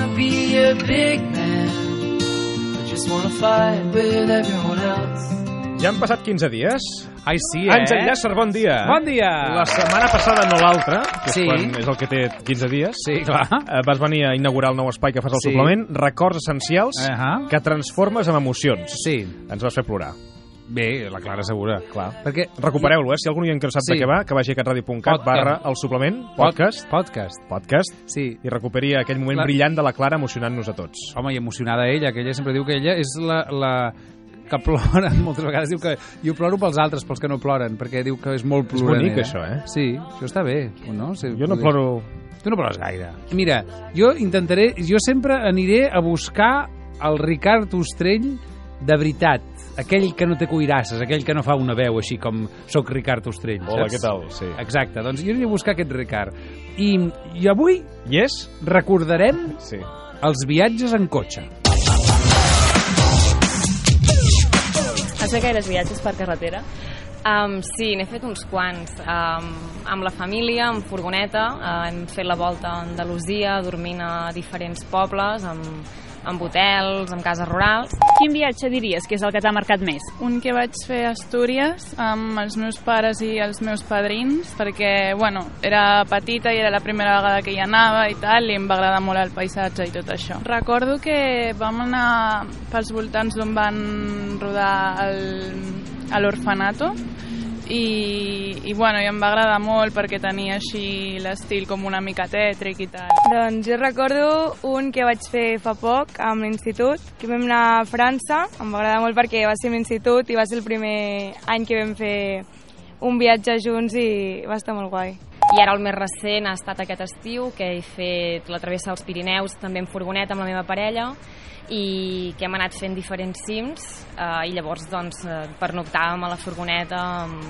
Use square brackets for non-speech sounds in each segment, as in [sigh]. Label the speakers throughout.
Speaker 1: a big man. I just wanna fight with everyone else.
Speaker 2: Ja han passat 15 dies.
Speaker 3: Ai, sí, eh?
Speaker 2: Àngel Llàcer, bon dia.
Speaker 3: Bon dia!
Speaker 2: La setmana passada, no l'altra, que
Speaker 3: Sí.
Speaker 2: és, quan és el que té 15 dies.
Speaker 3: Sí, clar.
Speaker 2: eh, Vas venir a inaugurar el nou espai que fas al
Speaker 3: Sí.
Speaker 2: suplement, Records Essencials,
Speaker 3: Ahà.
Speaker 2: que transformes en emocions.
Speaker 3: Sí.
Speaker 2: Ens vas fer plorar.
Speaker 3: Bé, la Clara segura.
Speaker 2: Clar.
Speaker 3: Perquè...
Speaker 2: Recupereu-lo, eh? Si algú hi ha que no sap de
Speaker 3: Sí. eh.
Speaker 2: què va, que vagi a catradio.cat
Speaker 3: Podcast.
Speaker 2: barra el suplement, podcast,
Speaker 3: Podcast.
Speaker 2: podcast,
Speaker 3: Sí.
Speaker 2: i recuperi aquell moment
Speaker 3: Clar.
Speaker 2: brillant de la Clara emocionant-nos a tots.
Speaker 3: Home, i emocionada ella, que ella sempre diu que ella és la... la que plora, [laughs] moltes vegades diu que jo ploro pels altres, pels que no ploren, perquè diu que és molt
Speaker 2: És
Speaker 3: ploranera.
Speaker 2: bonic, això, eh?
Speaker 3: Sí, això està bé, no? Sí,
Speaker 2: Jo no ploro...
Speaker 3: Tu no plores gaire. Mira, jo intentaré, jo sempre aniré a buscar el Ricard Ostrell de veritat, aquell que no té cuirasses, aquell que no fa una veu així com soc Ricard Ostrell.
Speaker 2: Hola,
Speaker 3: saps?
Speaker 2: què tal? Sí.
Speaker 3: Exacte, doncs jo aniré a buscar aquest Ricard. I, i avui
Speaker 2: I és?
Speaker 3: recordarem
Speaker 2: Sí.
Speaker 3: els viatges en cotxe.
Speaker 4: Has fet gaires viatges per carretera? Um, sí, n'he fet uns quants. Um, amb la família, amb furgoneta, uh, hem fet la volta a Andalusia, dormint a diferents pobles, amb, amb hotels, amb cases rurals.
Speaker 5: Quin viatge diries que és el que t'ha marcat més?
Speaker 6: Un que vaig fer a Astúries amb els meus pares i els meus padrins perquè, bueno, era petita i era la primera vegada que hi anava i tal i em va agradar molt el paisatge i tot això. Recordo que vam anar pels voltants d'on van rodar el, a l'orfanato i, i, bueno, i em va agradar molt perquè tenia així l'estil com una mica tètric i tal.
Speaker 7: Doncs jo recordo un que vaig fer fa poc amb l'institut, que vam anar a França, em va agradar molt perquè va ser a l'institut i va ser el primer any que vam fer un viatge junts i va estar molt guai.
Speaker 4: I ara el més recent ha estat aquest estiu, que he fet la travessa als Pirineus, també en furgoneta, amb la meva parella, i que hem anat fent diferents cims, eh, i llavors, doncs, eh, per noctàvem a la furgoneta amb,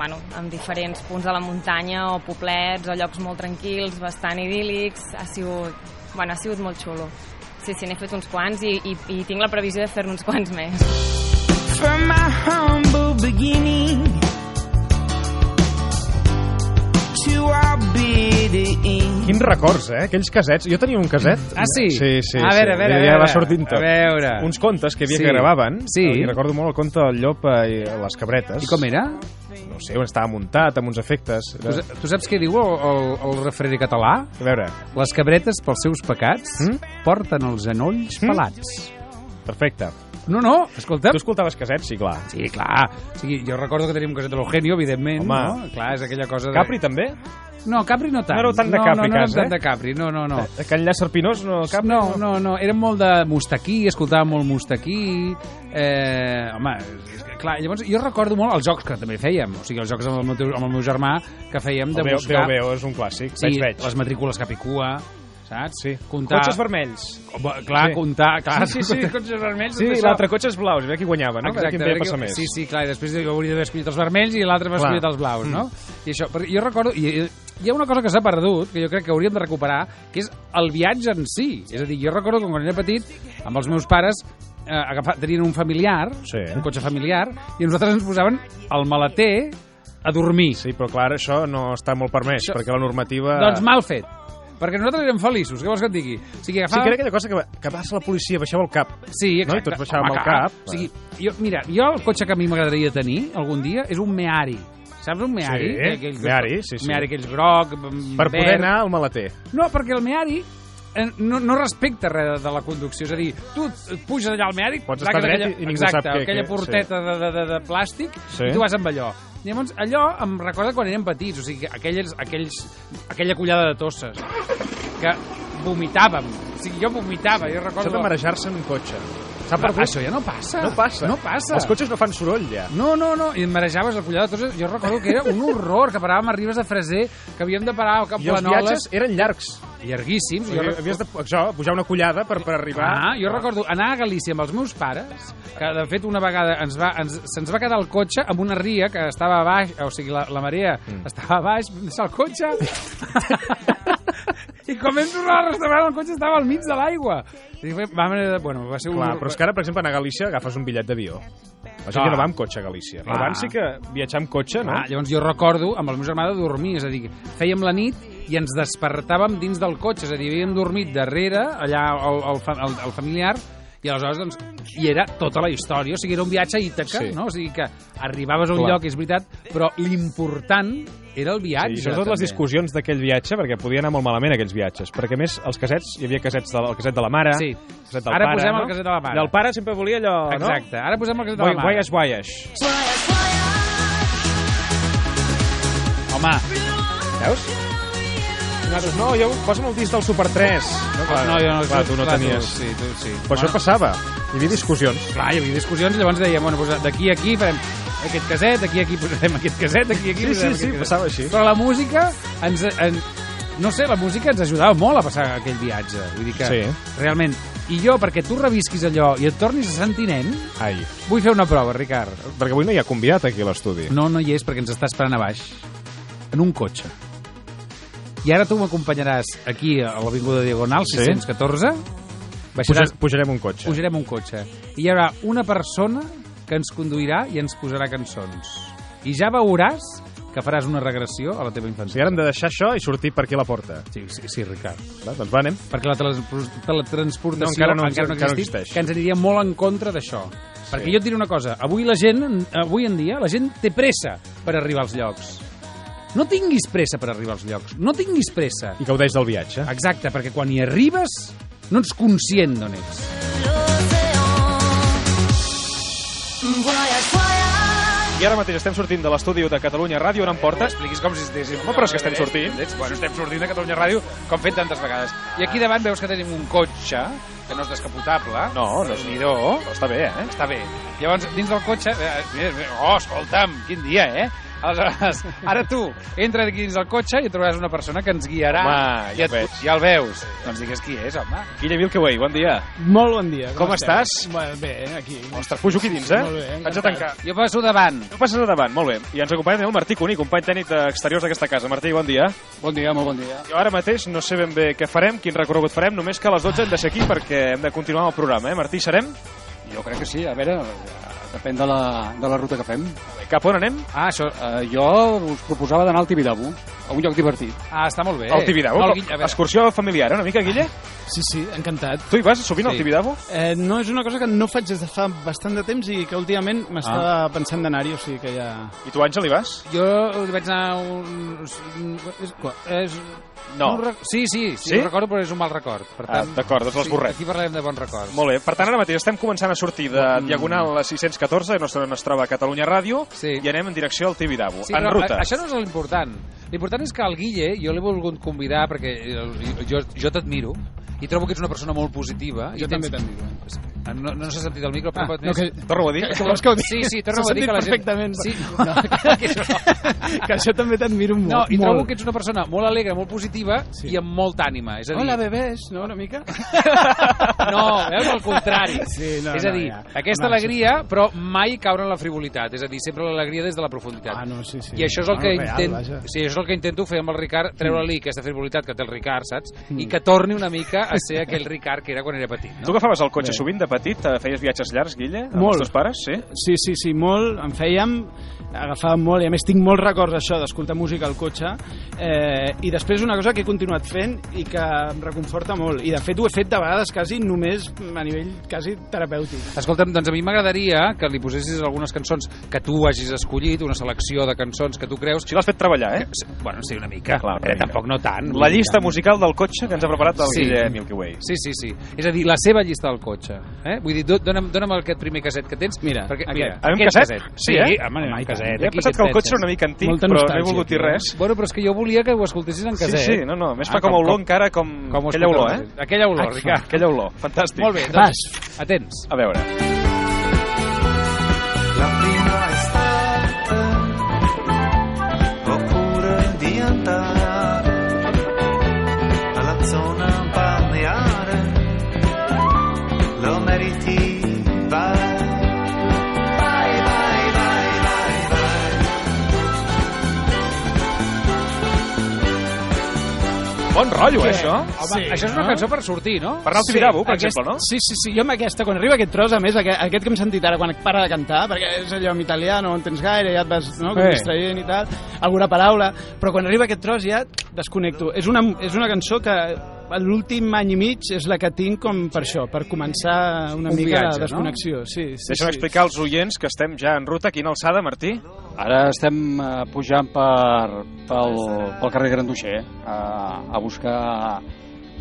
Speaker 4: bueno, amb diferents punts de la muntanya, o poblets, o llocs molt tranquils, bastant idíl·lics, ha sigut, bueno, ha sigut molt xulo. Sí, sí, n'he fet uns quants i, i, i tinc la previsió de fer-ne uns quants més.
Speaker 1: From my humble beginning to our bitter end.
Speaker 2: Quins records, eh? Aquells casets. Jo tenia un caset.
Speaker 3: Ah, sí?
Speaker 2: Sí, sí.
Speaker 3: A veure, a
Speaker 2: sí.
Speaker 3: veure,
Speaker 2: Ja,
Speaker 3: a
Speaker 2: ja
Speaker 3: veure.
Speaker 2: va sortint tot.
Speaker 3: A veure.
Speaker 2: Uns contes que hi havia
Speaker 3: Sí.
Speaker 2: que gravaven.
Speaker 3: Sí.
Speaker 2: I recordo molt el conte del llop eh, i les cabretes.
Speaker 3: I com era? eh,
Speaker 2: No ho sé, on estava muntat, amb uns efectes.
Speaker 3: Tu,
Speaker 2: Era...
Speaker 3: tu saps què diu el, el, el referent català?
Speaker 2: A veure,
Speaker 3: Les cabretes, pels seus pecats,
Speaker 2: Mm?
Speaker 3: porten els genolls
Speaker 2: Mm?
Speaker 3: pelats.
Speaker 2: perfecte.
Speaker 3: No, no, escolta.
Speaker 2: Tu escoltaves casets? Sí, clar.
Speaker 3: Sí, clar. O sigui, jo recordo que teníem un caset de l'Eugenio, evidentment.
Speaker 2: Home.
Speaker 3: No? Clar, és aquella cosa de...
Speaker 2: Capri també?
Speaker 3: No, Capri no tant.
Speaker 2: No éreu tant de
Speaker 3: no,
Speaker 2: Capri,
Speaker 3: no, no,
Speaker 2: cas,
Speaker 3: no,
Speaker 2: eh?
Speaker 3: tant de Capri, no, no, no.
Speaker 2: Aquell llaç serpinós? No, Capri?
Speaker 3: No, no, no, era molt de Mustaquí, escoltava molt Mustaquí, eh, home, és que, clar, llavors jo recordo molt els jocs que també fèiem, o sigui, els jocs amb el meu, amb el meu germà que fèiem de
Speaker 2: El veu,
Speaker 3: buscar
Speaker 2: veu, veu, és un clàssic.
Speaker 3: sí,
Speaker 2: veig, veig.
Speaker 3: les matrícules capicua, saps?
Speaker 2: Sí.
Speaker 3: Comptar,
Speaker 2: Cotxes vermells.
Speaker 3: Home, eh, clar,
Speaker 2: Sí.
Speaker 3: comptar, clar,
Speaker 2: Sí, sí, sí.
Speaker 3: comptar cotxes vermells,
Speaker 2: Sí,
Speaker 3: tot
Speaker 2: i
Speaker 3: això.
Speaker 2: l'altre cotxe és blaus. A veure qui guanyava, no? a veure
Speaker 3: Exacte, a
Speaker 2: qui en
Speaker 3: veure
Speaker 2: deia passar
Speaker 3: qui-
Speaker 2: més.
Speaker 3: Sí, sí, clar, i després jo hauria d'haver escollit els vermells i l'altre va
Speaker 2: Clar. Mm.
Speaker 3: escollir els blaus, no? I això, perquè jo recordo... I, i- hi ha una cosa que s'ha perdut, que jo crec que hauríem de recuperar, que és el viatge en si. És a dir, jo recordo que quan era petit, amb els meus pares, eh, agafar, tenien un familiar,
Speaker 2: Sí.
Speaker 3: un cotxe familiar, i a nosaltres ens posaven el maleter a dormir.
Speaker 2: Sí, però clar, això no està molt permès,
Speaker 3: Això-
Speaker 2: perquè la normativa...
Speaker 3: Doncs mal fet. Perquè nosaltres érem feliços, què vols que et digui? O sigui,
Speaker 2: Sí, que
Speaker 3: agafàvem...
Speaker 2: era aquella cosa que, va- que vas a la policia, baixava el cap.
Speaker 3: Sí,
Speaker 2: No? I
Speaker 3: exacte.
Speaker 2: tots baixàvem
Speaker 3: Home,
Speaker 2: el
Speaker 3: clar.
Speaker 2: cap.
Speaker 3: O sigui, jo, mira, jo el cotxe que a mi m'agradaria tenir algun dia és un Meari. Saps un Meari?
Speaker 2: Sí, Meari, sí, sí.
Speaker 3: Meari aquells groc,
Speaker 2: Per
Speaker 3: verd...
Speaker 2: poder anar al maleter.
Speaker 3: No, perquè el Meari eh, no, no respecta res de la conducció. És a dir, tu et puges allà al Meari...
Speaker 2: Pots
Speaker 3: traques
Speaker 2: estar dret
Speaker 3: aquella-
Speaker 2: i ningú
Speaker 3: exacte,
Speaker 2: sap què-
Speaker 3: aquella
Speaker 2: què-
Speaker 3: porteta de, de, de, de plàstic
Speaker 2: Sí.
Speaker 3: i tu vas amb allò. Llavors, allò em recorda quan érem petits, o sigui, aquelles, aquells, aquella collada de tosses que vomitàvem. O sigui, jo vomitava, jo
Speaker 2: Això
Speaker 3: recordo...
Speaker 2: de marejar-se en un cotxe. S'ha
Speaker 3: Per
Speaker 2: perdut.
Speaker 3: això ja no passa.
Speaker 2: No passa.
Speaker 3: No passa.
Speaker 2: Els cotxes no fan soroll, ja.
Speaker 3: No, no, no, i et marejaves el collado. Tots... Jo recordo que era un horror, que paràvem a Ribes de Freser, que havíem de parar a Cap
Speaker 2: I els viatges
Speaker 3: Planoles,
Speaker 2: eren llargs.
Speaker 3: llarguíssims.
Speaker 2: Jo
Speaker 3: Jo...
Speaker 2: havies de això, pujar una collada per, per arribar...
Speaker 3: Ah, jo recordo anar a Galícia amb els meus pares, que de fet una vegada ens va, ens, se'ns va quedar el cotxe amb una ria que estava a baix, o sigui, la, la marea mm. estava a baix, vam deixar el cotxe... [laughs] I quan vam tornar al restaurant, el cotxe estava al mig de l'aigua. I va, va, bueno, va ser un...
Speaker 2: Clar, però és que ara, per exemple, anar a Galícia agafes un bitllet d'avió. La gent
Speaker 3: Clar.
Speaker 2: ja no va amb cotxe a Galícia. Però
Speaker 3: Clar.
Speaker 2: abans sí que viatjar amb cotxe, no?
Speaker 3: Ah, llavors jo recordo, amb el meu germà de dormir, és a dir, fèiem la nit i ens despertàvem dins del cotxe, és a dir, havíem dormit darrere, allà el, el, fa- el, el familiar, i aleshores, doncs, hi era tota la història, o sigui, era un viatge a Ítaca,
Speaker 2: Sí.
Speaker 3: no? O sigui que arribaves a un
Speaker 2: Clar.
Speaker 3: lloc, és veritat, però l'important era el viatge.
Speaker 2: Sí, i sobretot les
Speaker 3: també.
Speaker 2: discussions d'aquell viatge, perquè podia anar molt malament aquells viatges, perquè a més els casets, hi havia casets de, el caset de la mare,
Speaker 3: Sí.
Speaker 2: el caset del
Speaker 3: Ara
Speaker 2: pare,
Speaker 3: posem
Speaker 2: no?
Speaker 3: el caset de la mare.
Speaker 2: I el pare sempre volia allò,
Speaker 3: Exacte. Ara posem el que
Speaker 2: no?
Speaker 3: de la mare.
Speaker 2: Guaies, guaies.
Speaker 3: Home,
Speaker 2: Veus? I Nosaltres, no, jo posa'm el disc del Super 3. No, clar,
Speaker 3: no, jo no...
Speaker 2: clar, tu no
Speaker 3: clar,
Speaker 2: tenies.
Speaker 3: Tu, sí, tu, sí.
Speaker 2: Però això passava. Hi havia discussions.
Speaker 3: Clar, hi havia discussions i llavors dèiem, bueno, doncs d'aquí a aquí farem aquest caset, d'aquí a aquí posarem aquest caset, d'aquí a aquí
Speaker 2: Sí, sí,
Speaker 3: posarem
Speaker 2: sí,
Speaker 3: aquest
Speaker 2: passava així.
Speaker 3: Però la música ens... En, no sé, la música ens ajudava molt a passar aquell viatge. Vull dir que,
Speaker 2: Sí.
Speaker 3: realment... I jo, perquè tu revisquis allò i et tornis a sentir nen,
Speaker 2: Ai,
Speaker 3: vull fer una prova, Ricard.
Speaker 2: perquè avui no hi ha convidat aquí a l'estudi.
Speaker 3: No, no hi és, perquè ens està esperant a baix, en un cotxe. I ara tu m'acompanyaràs aquí, a l'Avinguda Diagonal,
Speaker 2: Sí.
Speaker 3: 614.
Speaker 2: Puja,
Speaker 3: Baixaràs,
Speaker 2: pujarem un cotxe.
Speaker 3: pujarem un cotxe i hi haurà una persona que ens conduirà i ens posarà cançons i ja veuràs que faràs una regressió a la teva
Speaker 2: O sigui,
Speaker 3: infància
Speaker 2: ara hem de deixar això i sortir per aquí a la porta.
Speaker 3: sí, sí, sí Ricard
Speaker 2: Va, doncs va, anem.
Speaker 3: perquè la teletranspor- teletransportació
Speaker 2: No, encara
Speaker 3: encara no,
Speaker 2: no-
Speaker 3: encara no,
Speaker 2: encara no
Speaker 3: existeix,
Speaker 2: existeix.
Speaker 3: que ens aniria molt en contra d'això. Sí. Perquè jo et diré una cosa, avui la gent, avui en dia, la gent té pressa per arribar als llocs. No tinguis pressa per arribar als llocs, no tinguis pressa.
Speaker 2: I gaudeix del viatge.
Speaker 3: Exacte, perquè quan hi arribes no ets conscient d'on ets.
Speaker 2: I ara mateix estem sortint de l'estudi de Catalunya Ràdio, on em portes?
Speaker 3: expliquis com si estiguéssim...
Speaker 2: Home, però és que estem sortint.
Speaker 3: Bueno, estem sortint de Catalunya Ràdio com fet tantes vegades. I aquí davant veus que tenim un cotxe que no és descapotable.
Speaker 2: No, no és-
Speaker 3: Nidó.
Speaker 2: Està bé, eh?
Speaker 3: Està bé. Llavors, dins del cotxe... eh, mira, mira, Oh, escolta'm, quin dia, eh? [laughs] Aleshores, ara tu, entra aquí dins del cotxe i trobaràs una persona que ens
Speaker 8: Ah,
Speaker 3: guiarà.
Speaker 2: Home, ja
Speaker 3: i
Speaker 2: ho veig.
Speaker 3: ja el veus. Doncs digues qui és, home.
Speaker 2: Guille Vilkeway, bon dia.
Speaker 8: Molt bon dia.
Speaker 2: Com
Speaker 8: estem?
Speaker 2: estàs?
Speaker 8: Bueno,
Speaker 3: eh,
Speaker 8: bé, aquí.
Speaker 2: Ostres, pujo aquí dins, eh?
Speaker 8: Molt bé,
Speaker 2: Haig de
Speaker 8: encantat.
Speaker 2: tancar.
Speaker 3: Jo passo davant.
Speaker 2: Tu passes a davant, molt bé. I ens acompanya també el Martí Cuní, company tècnic d'exteriors d'aquesta casa. Martí, bon dia.
Speaker 8: Bon dia, molt bon dia.
Speaker 2: Jo ara mateix no sé ben bé què farem, quin recorregut farem, només que a les 12 hem de ser aquí perquè hem de continuar amb el programa, eh? Martí, serem?
Speaker 8: Jo crec que sí, a veure, depèn de la, de la ruta que fem.
Speaker 2: Cap on anem?
Speaker 3: Ah, això...
Speaker 8: Uh, jo us proposava d'anar al Tibidabo, a un lloc divertit.
Speaker 3: Ah, està molt bé.
Speaker 2: Al Tibidabo?
Speaker 3: No, el Guille, a
Speaker 2: però
Speaker 3: veure,
Speaker 2: Excursió familiar, eh, una mica, Guille?
Speaker 8: Sí, sí, encantat.
Speaker 2: Tu hi vas sovint al
Speaker 3: Sí.
Speaker 2: Tibidabo?
Speaker 8: Eh, no és una cosa que no faig des de fa bastant de temps i que últimament m'estava pensant d'anar-hi, o sigui que ja...
Speaker 2: I tu, Àngel, hi vas?
Speaker 3: Jo vaig anar un... És, és,
Speaker 2: No.
Speaker 3: un rec- sí, sí, sí,
Speaker 2: Sí?
Speaker 3: sí, ho recordo, però és un mal record. Per
Speaker 2: Ah,
Speaker 3: tant,
Speaker 2: d'acord, doncs l'esborrem.
Speaker 3: aquí parlarem de bons records.
Speaker 2: Molt bé, per tant ara mateix estem començant a sortir de
Speaker 3: Mm.
Speaker 2: Diagonal a 614, no sé on es troba Catalunya Ràdio,
Speaker 3: Sí.
Speaker 2: i anem en direcció al Tibidabo,
Speaker 3: Sí,
Speaker 2: en
Speaker 3: però
Speaker 2: ruta.
Speaker 3: a- Això no és l'important. L'important és que el Guille, jo l'he volgut convidar perquè eh, jo, jo t'admiro i trobo que ets una persona molt positiva.
Speaker 8: Jo
Speaker 3: i Ah,
Speaker 8: també t'admiro, eh.
Speaker 3: No, no s'ha sentit el micro, però
Speaker 8: Ah,
Speaker 3: ah, pot
Speaker 8: no,
Speaker 3: més.
Speaker 8: que...
Speaker 2: Torno a dir.
Speaker 8: que vols que ho digui?
Speaker 3: Sí,
Speaker 8: [laughs]
Speaker 3: sí,
Speaker 8: S'ha
Speaker 3: torna a dir
Speaker 8: sentit
Speaker 3: que la gent...
Speaker 8: perfectament. [laughs]
Speaker 3: Sí, no,
Speaker 8: No,
Speaker 3: clar que no.
Speaker 8: que això també t'admiro molt.
Speaker 3: No, i trobo
Speaker 8: molt.
Speaker 3: que ets una persona molt alegre, molt positiva sí. i amb molta ànima. És a dir,
Speaker 8: Hola, bebès, no, una mica?
Speaker 3: No, veus, al contrari.
Speaker 8: [laughs] Sí, no,
Speaker 3: és a
Speaker 8: no,
Speaker 3: dir,
Speaker 8: ja.
Speaker 3: aquesta
Speaker 8: No, sí.
Speaker 3: alegria, però mai caure en la frivolitat. És a dir, sempre l'alegria des de la profunditat.
Speaker 8: Ah, no, sí, sí.
Speaker 3: I això és el que,
Speaker 8: Bueno,
Speaker 3: intent...
Speaker 8: vaja.
Speaker 3: sí, això és el que intento fer amb el Ricard,
Speaker 2: Mm.
Speaker 3: treure-li aquesta frivolitat que té el Ricard, saps? I que torni una mica a ser aquell Ricard que era quan era petit,
Speaker 2: Tu
Speaker 3: no?
Speaker 2: agafaves el cotxe sovint de petit? Eh, Feies viatges llargs, Guille? Amb
Speaker 8: Molt.
Speaker 2: els teus pares, sí?
Speaker 8: Sí, sí, sí, molt, en fèiem, agafàvem molt, i a més tinc molts records això d'escoltar música al cotxe, eh, i després una cosa que he continuat fent i que em reconforta molt, i de fet ho he fet de vegades quasi només a nivell quasi terapèutic.
Speaker 3: Escolta'm, doncs a mi m'agradaria que li posessis algunes cançons que tu hagis escollit, una selecció de cançons que tu creus...
Speaker 2: Sí, l'has fet treballar, eh?
Speaker 3: Bueno, sí, una mica.
Speaker 2: Clar, una
Speaker 3: eh,
Speaker 2: mica.
Speaker 3: Tampoc no tant.
Speaker 2: La llista musical del cotxe que ens ha preparat el
Speaker 3: Sí.
Speaker 2: Guille Milky Way.
Speaker 3: Sí, sí, sí. És a dir, la seva llista del cotxe. Eh? Vull dir, do- dona'm, dona'm aquest primer caset que tens.
Speaker 8: Mira, aquest.
Speaker 2: Anem
Speaker 3: aquest
Speaker 2: caset?
Speaker 3: Sí,
Speaker 2: Sí, eh?
Speaker 3: home, anem
Speaker 8: Home, i
Speaker 3: amb
Speaker 8: tant.
Speaker 3: caset.
Speaker 2: He
Speaker 3: aquí,
Speaker 2: pensat
Speaker 3: què
Speaker 2: que el
Speaker 3: et
Speaker 2: cotxe era
Speaker 3: penses?
Speaker 2: una mica antic,
Speaker 8: Molta
Speaker 2: però no he
Speaker 8: nostàlgia,
Speaker 2: volgut dir
Speaker 8: tio.
Speaker 2: res.
Speaker 3: Bueno, però és que jo volia que ho escoltessis en
Speaker 2: Sí,
Speaker 3: caset.
Speaker 2: sí, no, no. A més fa com olor encara com,
Speaker 3: com ho
Speaker 2: aquella olor,
Speaker 3: escoltem.
Speaker 2: eh?
Speaker 3: Mm. Aquella olor, Ricard.
Speaker 2: Aquella olor. Fantàstic.
Speaker 3: Molt bé,
Speaker 8: Vas.
Speaker 3: doncs, atents.
Speaker 2: A veure.
Speaker 1: La prima è stata oppure di andare alla zona balneare lo meriti vai vai vai vai vai vai
Speaker 2: Bon bon rotllo, eh, això.
Speaker 3: Home, això és una
Speaker 8: no?
Speaker 3: cançó per sortir, no?
Speaker 2: Per anar al Tibidabo, per exemple, no?
Speaker 8: Sí, sí, sí, jo amb aquesta, quan arriba aquest tros, a més, aquest, aquest que hem sentit ara quan para de cantar, perquè és allò en italià, no ho entens gaire, ja et vas no, com
Speaker 3: Eh.
Speaker 8: distraient i tal, alguna paraula, però quan arriba aquest tros ja desconnecto. És una, és una cançó que l'últim any i mig és la que tinc com per això, per començar una
Speaker 3: Un
Speaker 8: mica
Speaker 3: viatge,
Speaker 8: la
Speaker 3: no?
Speaker 8: desconnexió. Sí, sí,
Speaker 2: Deixa'm
Speaker 8: sí.
Speaker 2: explicar als oients que estem ja en ruta. Quina alçada, Martí?
Speaker 9: Ara estem eh, pujant per, pel, pel carrer Granduixer a, a buscar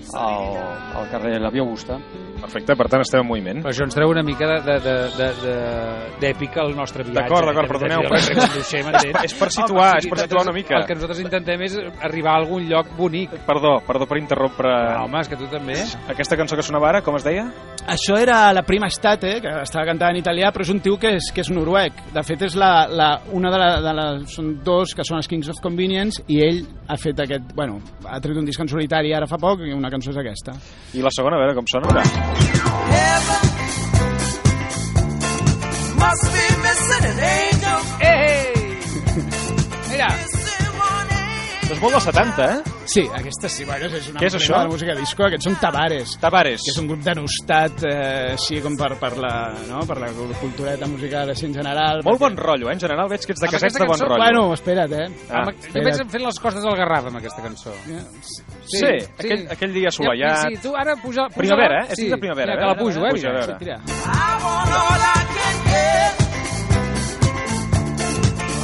Speaker 9: el, el carrer La Via Augusta.
Speaker 2: Perfecte, per tant estem en moviment.
Speaker 3: Però això ens treu una mica de- de- de- de- de- d'èpica al nostre viatge.
Speaker 2: D'acord, d'acord,
Speaker 3: eh?
Speaker 2: perdoneu,
Speaker 3: Jo
Speaker 2: però-
Speaker 3: crec que conduixem, m'entens?
Speaker 2: [laughs] És per situar,
Speaker 3: Home, o
Speaker 2: és
Speaker 3: sigui,
Speaker 2: per situar una
Speaker 3: nosaltres-
Speaker 2: mica.
Speaker 3: El que nosaltres intentem és arribar a algun lloc bonic.
Speaker 2: Perdó, perdó per interrompre.
Speaker 3: Ah, home, és que tu també.
Speaker 2: Aquesta cançó que sonava ara, com es deia?
Speaker 8: Això era la prima estate, que estava cantant en italià, però és un tio que és, que és noruec. De fet, és la, la, una de, la, de les... Són dos, que són els Kings of Convenience, i ell ha fet aquest... Bueno, ha tret un disc en solitari ara fa poc, i una cançó és aquesta.
Speaker 2: I la segona, a veure com sona. Doncs Mira.
Speaker 1: Must be missing an angel.
Speaker 3: Eh,
Speaker 8: [laughs]
Speaker 3: Mira,
Speaker 2: Això és molt dels 70, eh?
Speaker 8: Sí, aquesta sí, bueno, és una
Speaker 2: Què és
Speaker 8: emblema
Speaker 2: això?
Speaker 8: de la música disco, aquests són Tavares.
Speaker 2: Tavares.
Speaker 8: que és un grup denostat, eh, sí, com per, per, la, no? per la cultureta musical així en general.
Speaker 2: Molt
Speaker 8: perquè-
Speaker 2: bon rotllo, eh? En general veig que ets de
Speaker 3: Amb
Speaker 2: casets de
Speaker 3: aquesta
Speaker 2: bon
Speaker 3: cançó,
Speaker 2: rotllo.
Speaker 8: Bueno, espera't, eh?
Speaker 2: Ah,
Speaker 3: amb, jo penso fent les coses del Garraf amb aquesta cançó.
Speaker 2: sí, Aquell, aquell dia assolellat.
Speaker 3: Sí, tu ara puja... puja
Speaker 2: Primavera, eh? És
Speaker 3: Sí,
Speaker 2: de primavera,
Speaker 3: mira,
Speaker 2: a
Speaker 3: que la
Speaker 2: veure,
Speaker 3: pujo, eh?
Speaker 2: puja, a
Speaker 3: mira.
Speaker 2: veure.
Speaker 8: Mira,
Speaker 1: I want all I can get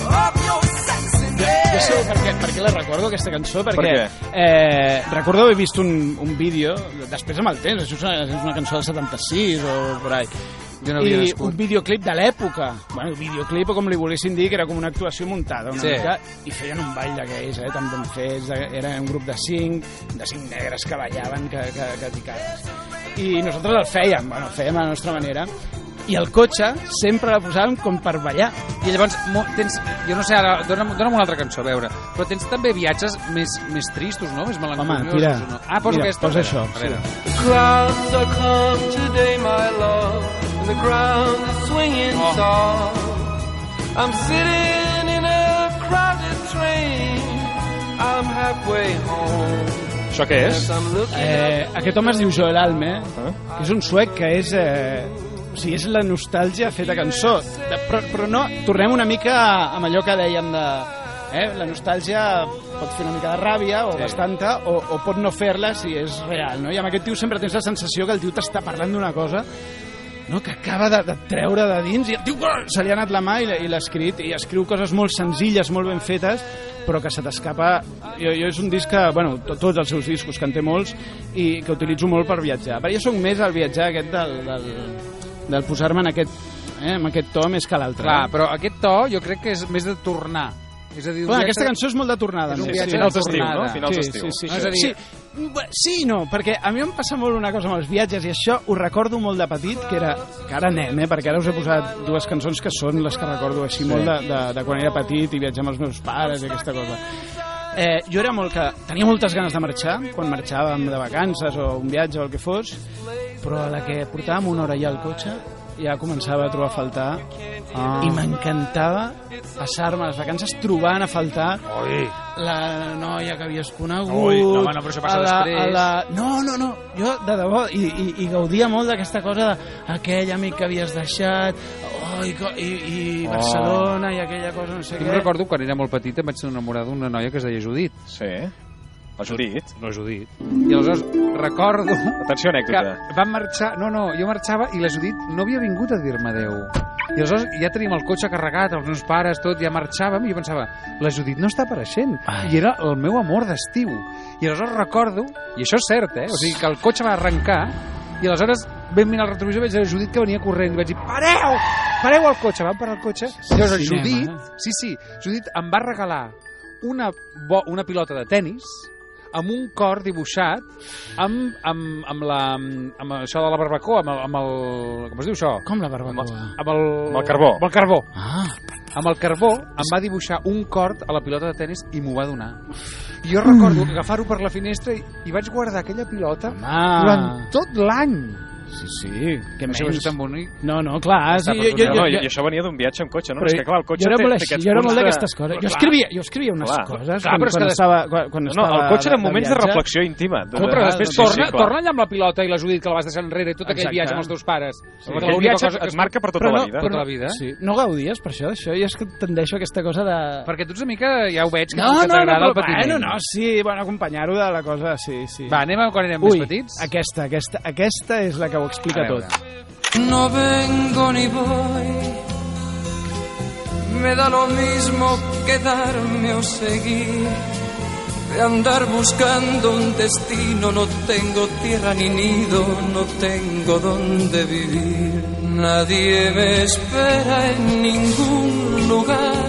Speaker 1: of your sexiness.
Speaker 8: Jo sé per què, per què la recordo, aquesta cançó, perquè
Speaker 2: Per què?
Speaker 8: Eh, recordo haver vist un, un vídeo, després amb el temps, això és una, és una cançó del 76 o per ahí,
Speaker 3: Jo no havia
Speaker 8: i
Speaker 3: nascut.
Speaker 8: un videoclip de l'època. Bueno, videoclip, o com li volguessin dir, que era com una actuació muntada una
Speaker 3: Sí.
Speaker 8: mica, i feien un ball d'aquells, eh, tan ben fets, de- era un grup de cinc, de cinc negres que ballaven, que, que, que ticaves. I nosaltres el fèiem, bueno, el fèiem a la nostra manera, i el cotxe sempre la posàvem com per ballar.
Speaker 3: I llavors, mo, tens, jo no sé, ara, dona'm, dona'm una altra cançó, a veure. Però tens també viatges més, més tristos, no? Més melancoliosos.
Speaker 8: tira.
Speaker 3: o no? Ah, posa
Speaker 8: Mira,
Speaker 3: aquesta.
Speaker 8: posa
Speaker 3: a veure,
Speaker 8: això,
Speaker 3: a veure.
Speaker 1: Clouds are calm today, my love, and the ground is swinging tall. I'm sitting in a crowded train. I'm halfway home.
Speaker 2: Això què és?
Speaker 1: Yes, I'm looking
Speaker 8: Eh, aquest home es diu Joel Alme,
Speaker 2: Ah.
Speaker 8: que és un suec que és... Eh, o sigui, és la nostàlgia feta cançó. De, però, però no, tornem una mica amb allò que dèiem de... Eh, la nostàlgia pot fer una mica de ràbia o sí. bastanta o, o pot no fer-la si és real, no? I amb aquest tio sempre tens la sensació que el tio t'està parlant d'una cosa no? que acaba de, de treure de dins i el tio uah, se li ha anat la mà i l'ha- i l'ha escrit i escriu coses molt senzilles, molt ben fetes però que se t'escapa jo, jo és un disc que, bueno, to, tots els seus discos que en té molts i que utilitzo molt per viatjar perquè jo sóc més al viatjar aquest del, del, del posar-me en aquest eh, en aquest to més que l'altre
Speaker 3: Clar,
Speaker 8: eh?
Speaker 3: però aquest to jo crec que és més de tornar. És a dir, un
Speaker 8: Bueno,
Speaker 3: viatge-
Speaker 8: aquesta cançó és molt de tornada.
Speaker 3: És un
Speaker 8: no?
Speaker 3: viatge
Speaker 2: Finals
Speaker 3: de
Speaker 2: d'estiu, no?
Speaker 3: tornada.
Speaker 2: Finals
Speaker 8: sí,
Speaker 2: d'estiu.
Speaker 8: Sí, sí,
Speaker 3: No, és
Speaker 8: sí.
Speaker 3: a dir-
Speaker 8: sí. Bé, sí i no, perquè a mi em passa molt una cosa amb els viatges i això ho recordo molt de petit, que era, que ara anem, eh, perquè ara us he posat dues cançons que són les que recordo així molt de, de, de quan era petit i viatjar amb els meus pares i aquesta cosa. Eh, jo era molt que... Tenia moltes ganes de marxar, quan marxàvem de vacances o un viatge o el que fos, però a la que portàvem una hora ja al cotxe ja començava a trobar a faltar ah. i m'encantava passar-me les vacances trobant a faltar
Speaker 3: Ui.
Speaker 8: la noia que havies conegut...
Speaker 3: Ui, no, home, no, però això passa
Speaker 8: a la,
Speaker 3: després.
Speaker 8: a La... No, no, no, jo de debò, i, i, i gaudia molt d'aquesta cosa d'aquell amic que havies deixat, oh, i, co- i, i
Speaker 3: Oh.
Speaker 8: Barcelona, i aquella cosa, no sé
Speaker 3: Jo
Speaker 8: què...
Speaker 3: me'n recordo quan era molt petita em vaig enamorar d'una noia que es deia Judit.
Speaker 2: Sí. La Judit.
Speaker 3: No Judit. I aleshores recordo
Speaker 2: Atenció,
Speaker 3: que
Speaker 2: anècdota.
Speaker 3: vam marxar... No, no, jo marxava i la Judit no havia vingut a dir-me adeu. I aleshores ja tenim el cotxe carregat, els meus pares, tot, ja marxàvem i jo pensava, la Judit no està apareixent. I era el meu amor d'estiu. I aleshores recordo, i això és cert, eh? O sigui, que el cotxe va arrencar i aleshores vam mirar el retrovisor i vaig dir a la Judit que venia corrent. I vaig dir, pareu! Pareu el cotxe! Vam parar el cotxe. I llavors el
Speaker 8: cinema,
Speaker 3: Judit,
Speaker 8: eh?
Speaker 3: sí, sí, Judit em va regalar una, bo, una pilota de tennis amb un cor dibuixat amb, amb, amb, la, amb això de la barbacoa, amb el, amb el... Com es diu això?
Speaker 8: Com la
Speaker 3: Amb el,
Speaker 8: barbacoa?
Speaker 3: amb el,
Speaker 2: Amb el carbó.
Speaker 3: Amb el carbó.
Speaker 8: Ah,
Speaker 3: Amb el carbó em va dibuixar un cort a la pilota de tennis i m'ho va donar. I jo
Speaker 8: Mm.
Speaker 3: recordo agafar-ho per la finestra i, i vaig guardar aquella pilota
Speaker 8: ah.
Speaker 3: durant tot l'any.
Speaker 8: Sí, sí, que
Speaker 3: Això
Speaker 8: menys.
Speaker 3: és tan bonic.
Speaker 8: No, no, clar. Sí,
Speaker 2: Està
Speaker 8: jo,
Speaker 2: per
Speaker 8: jo,
Speaker 2: un
Speaker 8: jo,
Speaker 2: lado,
Speaker 8: jo,
Speaker 2: I, I això venia d'un viatge en cotxe, no?
Speaker 8: però
Speaker 2: és que, clar, el cotxe
Speaker 8: jo era molt
Speaker 2: té,
Speaker 8: així,
Speaker 2: té
Speaker 8: jo era molt
Speaker 2: punts de-
Speaker 8: d'aquestes coses. Jo
Speaker 2: Clar.
Speaker 8: escrivia, jo escrivia unes
Speaker 2: Clar.
Speaker 8: coses
Speaker 2: Clar,
Speaker 8: quan,
Speaker 2: però és
Speaker 8: quan,
Speaker 2: que-
Speaker 8: estava, quan, quan
Speaker 2: No, no,
Speaker 8: estava
Speaker 2: el cotxe era moments de,
Speaker 8: viatge.
Speaker 2: reflexió íntima. De,
Speaker 3: No, però
Speaker 2: de-
Speaker 8: doncs
Speaker 3: després
Speaker 2: sí, sí,
Speaker 3: torna,
Speaker 2: clar.
Speaker 3: torna allà amb la pilota i la Judit que la vas deixar enrere, tot aquell
Speaker 8: Exacte.
Speaker 3: viatge amb els teus pares.
Speaker 2: Sí.
Speaker 3: Perquè
Speaker 2: Aquell
Speaker 3: l'única
Speaker 2: viatge
Speaker 3: cosa que
Speaker 2: et marca per tota
Speaker 8: però
Speaker 2: la
Speaker 8: no-
Speaker 2: vida.
Speaker 3: per tota la vida.
Speaker 8: Sí. No gaudies per això, d'això? Jo és que tendeixo a aquesta cosa de...
Speaker 3: Perquè tu ets una mica, ja ho veig, que
Speaker 8: No, no, no,
Speaker 3: t'agrada
Speaker 8: però,
Speaker 3: el patiment.
Speaker 8: bueno, no, sí, bueno, acompanyar-ho de la cosa, sí, sí.
Speaker 3: Va, anem a quan érem
Speaker 8: Ui,
Speaker 3: més petits.
Speaker 8: aquesta, aquesta, aquesta és la que ho
Speaker 3: A
Speaker 8: explica
Speaker 3: veure.
Speaker 8: tot.
Speaker 1: No vengo ni voy. Me da lo mismo quedarme o seguir. De andar buscando un destino, no tengo tierra ni nido, no tengo dónde vivir. Nadie me espera en ningún lugar.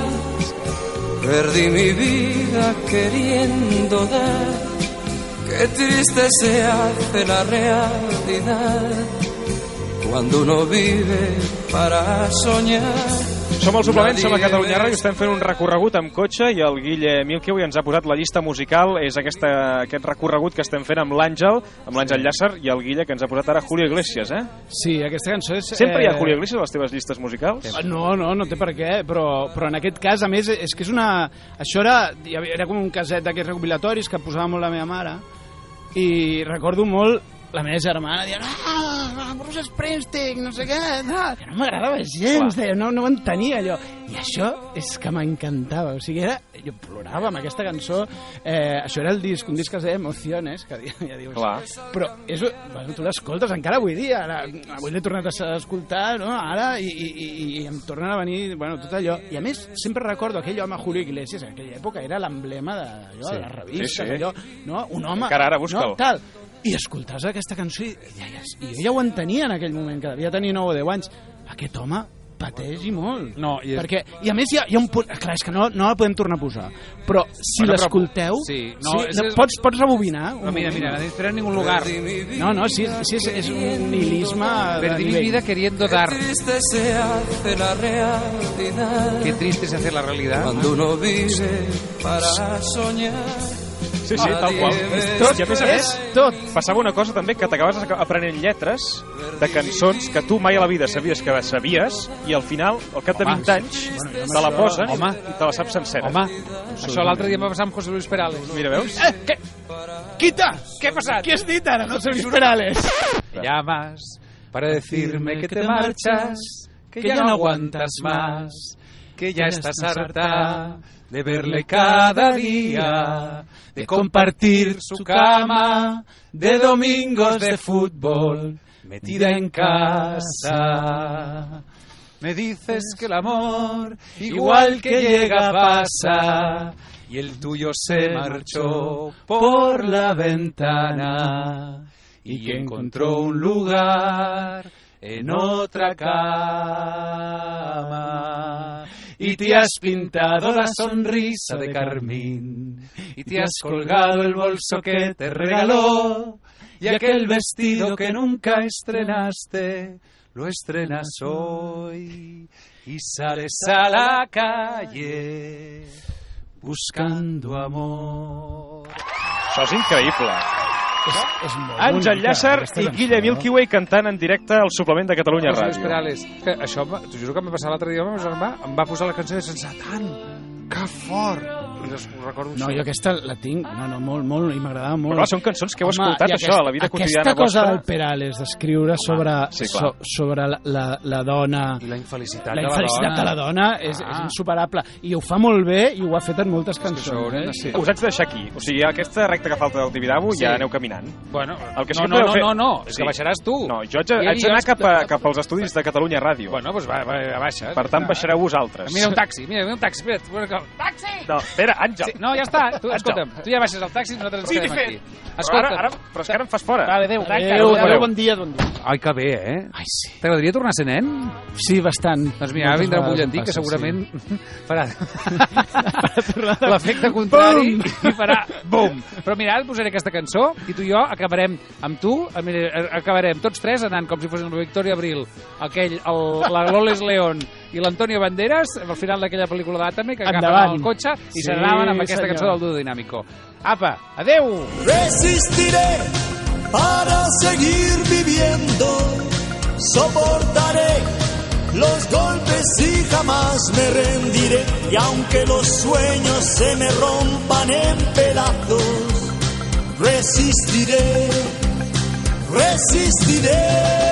Speaker 1: Perdí mi vida queriendo dar. Qué triste se hace la realidad cuando uno vive para soñar.
Speaker 2: Som al suplement, som a
Speaker 1: Nadie
Speaker 2: Catalunya
Speaker 1: ves.
Speaker 2: Ràdio, estem fent un recorregut amb cotxe i el Guille Milky avui ens ha posat la llista musical, és aquesta, aquest recorregut que estem fent amb l'Àngel, amb l'Àngel Llàcer i el Guille que ens ha posat ara Julio Iglesias, eh?
Speaker 8: Sí, aquesta cançó és...
Speaker 2: Sempre hi ha
Speaker 8: eh,
Speaker 2: Julio Iglesias a les teves llistes musicals?
Speaker 8: No, no, no té per què, però, però en aquest cas, a més, és que és una... Això era, hi havia- era com un caset d'aquests recopilatoris que posava molt la meva mare i recordo molt la meva germana dient ah, Bruce Springsteen, no sé què, no, que no m'agradava gens, deia, no, no ho entenia allò. I això és que m'encantava, o sigui, era, jo plorava amb aquesta cançó, eh, això era el disc, un disc que es deia Emociones, que [laughs] ja, ja dius,
Speaker 2: Clar.
Speaker 8: però és, bueno, tu l'escoltes encara avui dia, ara, avui l'he tornat a s- a escoltar, no? ara, i, i, i- i em tornen a venir bueno, tot allò. I a més, sempre recordo aquell home, Julio Iglesias, en aquella època era l'emblema de, allò, de les revistes,
Speaker 2: Sí, sí.
Speaker 8: allò, no? un home...
Speaker 2: Encara ara, busca-ho.
Speaker 8: No, tal. I escoltes aquesta cançó i, i, deies, i jo ja ho entenia en aquell moment, que devia tenir 9 o 10 anys. Aquest home pateix i molt.
Speaker 3: No, i és-
Speaker 8: Perquè, I a més hi ha, hi ha un punt... Clar, és que no, no la podem tornar a posar. Però
Speaker 3: Bueno,
Speaker 8: si
Speaker 3: però-
Speaker 8: l'escolteu...
Speaker 3: sí, no, és-
Speaker 8: la- pots, pots rebobinar? un
Speaker 3: No, mira,
Speaker 8: moment?
Speaker 3: mira, nadie espera en ningún lugar.
Speaker 8: No, no, sí, sí és, és un nihilisme de
Speaker 3: Perdí mi
Speaker 8: nivell.
Speaker 3: vida queriendo dar.
Speaker 1: triste se hace la realidad
Speaker 3: Qué triste es hacer la realidad.
Speaker 1: cuando uno vive para soñar.
Speaker 2: Sí, sí, tal qual.
Speaker 8: Tot
Speaker 2: I a més a
Speaker 8: és
Speaker 2: més,
Speaker 8: tot.
Speaker 2: passava una cosa també que t'acabaves aca- aprenent lletres de cançons que tu mai a la vida sabies que sabies i al final, al cap de
Speaker 3: Home.
Speaker 2: 20 anys, te la poses i te la saps sencera.
Speaker 3: Home, això l'altre dia em va passar amb José Luis Perales.
Speaker 2: Mira, veus?
Speaker 8: Eh, què? Quita!
Speaker 3: Què ha passat?
Speaker 8: Què has dit ara? No sé,
Speaker 3: [laughs]
Speaker 8: Perales.
Speaker 3: Te llamas para decirme que te marchas, que ya no aguantas más, que ya estás harta de verle cada día, de compartir su cama, de domingos de fútbol, metida en casa. Me dices que el amor, igual que llega, pasa, y el tuyo se marchó por la ventana y que encontró un lugar en otra cama. Y te has pintado la sonrisa de carmín, y te has colgado el bolso que te regaló, y aquel vestido que nunca estrenaste, lo estrenas hoy, y sales a la calle buscando amor.
Speaker 2: Això és increïble.
Speaker 8: És molt
Speaker 2: Àngel Llàcer i Guille
Speaker 8: Milky.
Speaker 2: Milky Way cantant en directe al suplement de Catalunya
Speaker 3: José Luis
Speaker 2: Ràdio.
Speaker 3: Perales. Que això, va- t'ho juro que em va passar l'altre dia amb el meu germà, em va posar la cançó de Sense tant, que fort! I les, ho recordo
Speaker 8: No, jo aquesta la tinc, no, no, molt, molt, i m'agradava molt.
Speaker 2: Però clar, són cançons que heu escoltat,
Speaker 8: i
Speaker 2: això, a la vida
Speaker 8: Aquesta
Speaker 2: quotidiana
Speaker 8: cosa
Speaker 2: vostra.
Speaker 8: del Perales, d'escriure sobre,
Speaker 2: sí, clar.
Speaker 8: so, sobre la, la, la dona,
Speaker 3: I la infelicitat,
Speaker 8: la infelicitat de la dona, és, és insuperable. I ho fa molt bé i ho ha fet en moltes
Speaker 3: Això ho
Speaker 8: cançons.
Speaker 3: haurem de
Speaker 8: eh?
Speaker 3: ser.
Speaker 2: Us haig de deixar aquí. O sigui, aquesta recta que falta del Tibidabo
Speaker 3: Sí.
Speaker 2: ja aneu caminant.
Speaker 3: Bueno,
Speaker 2: El que sí
Speaker 3: no,
Speaker 2: que
Speaker 3: no,
Speaker 2: podeu
Speaker 3: no,
Speaker 2: fer-
Speaker 3: no, no, és
Speaker 2: Sí.
Speaker 3: que baixaràs
Speaker 8: Uh.
Speaker 3: tu.
Speaker 2: No, jo haig, de-
Speaker 3: I
Speaker 2: haig
Speaker 3: jo-
Speaker 2: d'anar cap, a, cap als estudis de Catalunya Ràdio.
Speaker 3: Bueno, doncs va, va, va baixa.
Speaker 2: per tant, baixareu vosaltres.
Speaker 3: Mira un taxi, mira, mira un taxi, espera't. Mira, taxi!
Speaker 2: No, espera, Àngel.
Speaker 3: Sí, no, ja està, tu,
Speaker 2: Àngel.
Speaker 3: escolta'm, tu ja baixes el taxi i nosaltres ens
Speaker 2: Sí,
Speaker 3: quedem
Speaker 2: de
Speaker 3: aquí.
Speaker 2: fet. Però
Speaker 3: Escolta'm.
Speaker 2: ara, ara, però és que ara em fas fora.
Speaker 3: Vale, adéu.
Speaker 8: Adéu, adéu, bon dia, bon dia.
Speaker 3: Ai, que bé, eh?
Speaker 8: Ai, sí.
Speaker 3: T'agradaria tornar a ser nen?
Speaker 8: Sí, bastant.
Speaker 3: Doncs mira, ara vindrà un
Speaker 8: Moltes
Speaker 3: butlletí que
Speaker 8: vegades em
Speaker 3: segurament [laughs] farà
Speaker 8: [laughs]
Speaker 3: l'efecte contrari i farà bum. Però mira, ara et posaré aquesta cançó i tu i jo acabarem amb tu, eh, mira, eh, acabarem tots tres anant com si fossin la Victoria Abril, aquell, el, la Loles León i l'Antonio Banderas, al final d'aquella pel·lícula d'Atame, que agafen
Speaker 8: Endavant.
Speaker 3: el cotxe i
Speaker 8: Sí,
Speaker 3: se n'anaven amb aquesta
Speaker 8: senyor.
Speaker 3: cançó del Duo Dinámico. Apa, adeu!
Speaker 10: Resistiré para seguir viviendo. Soportaré los golpes y jamás me rendiré. Y aunque los sueños se me rompan en pedazos, resistiré, resistiré.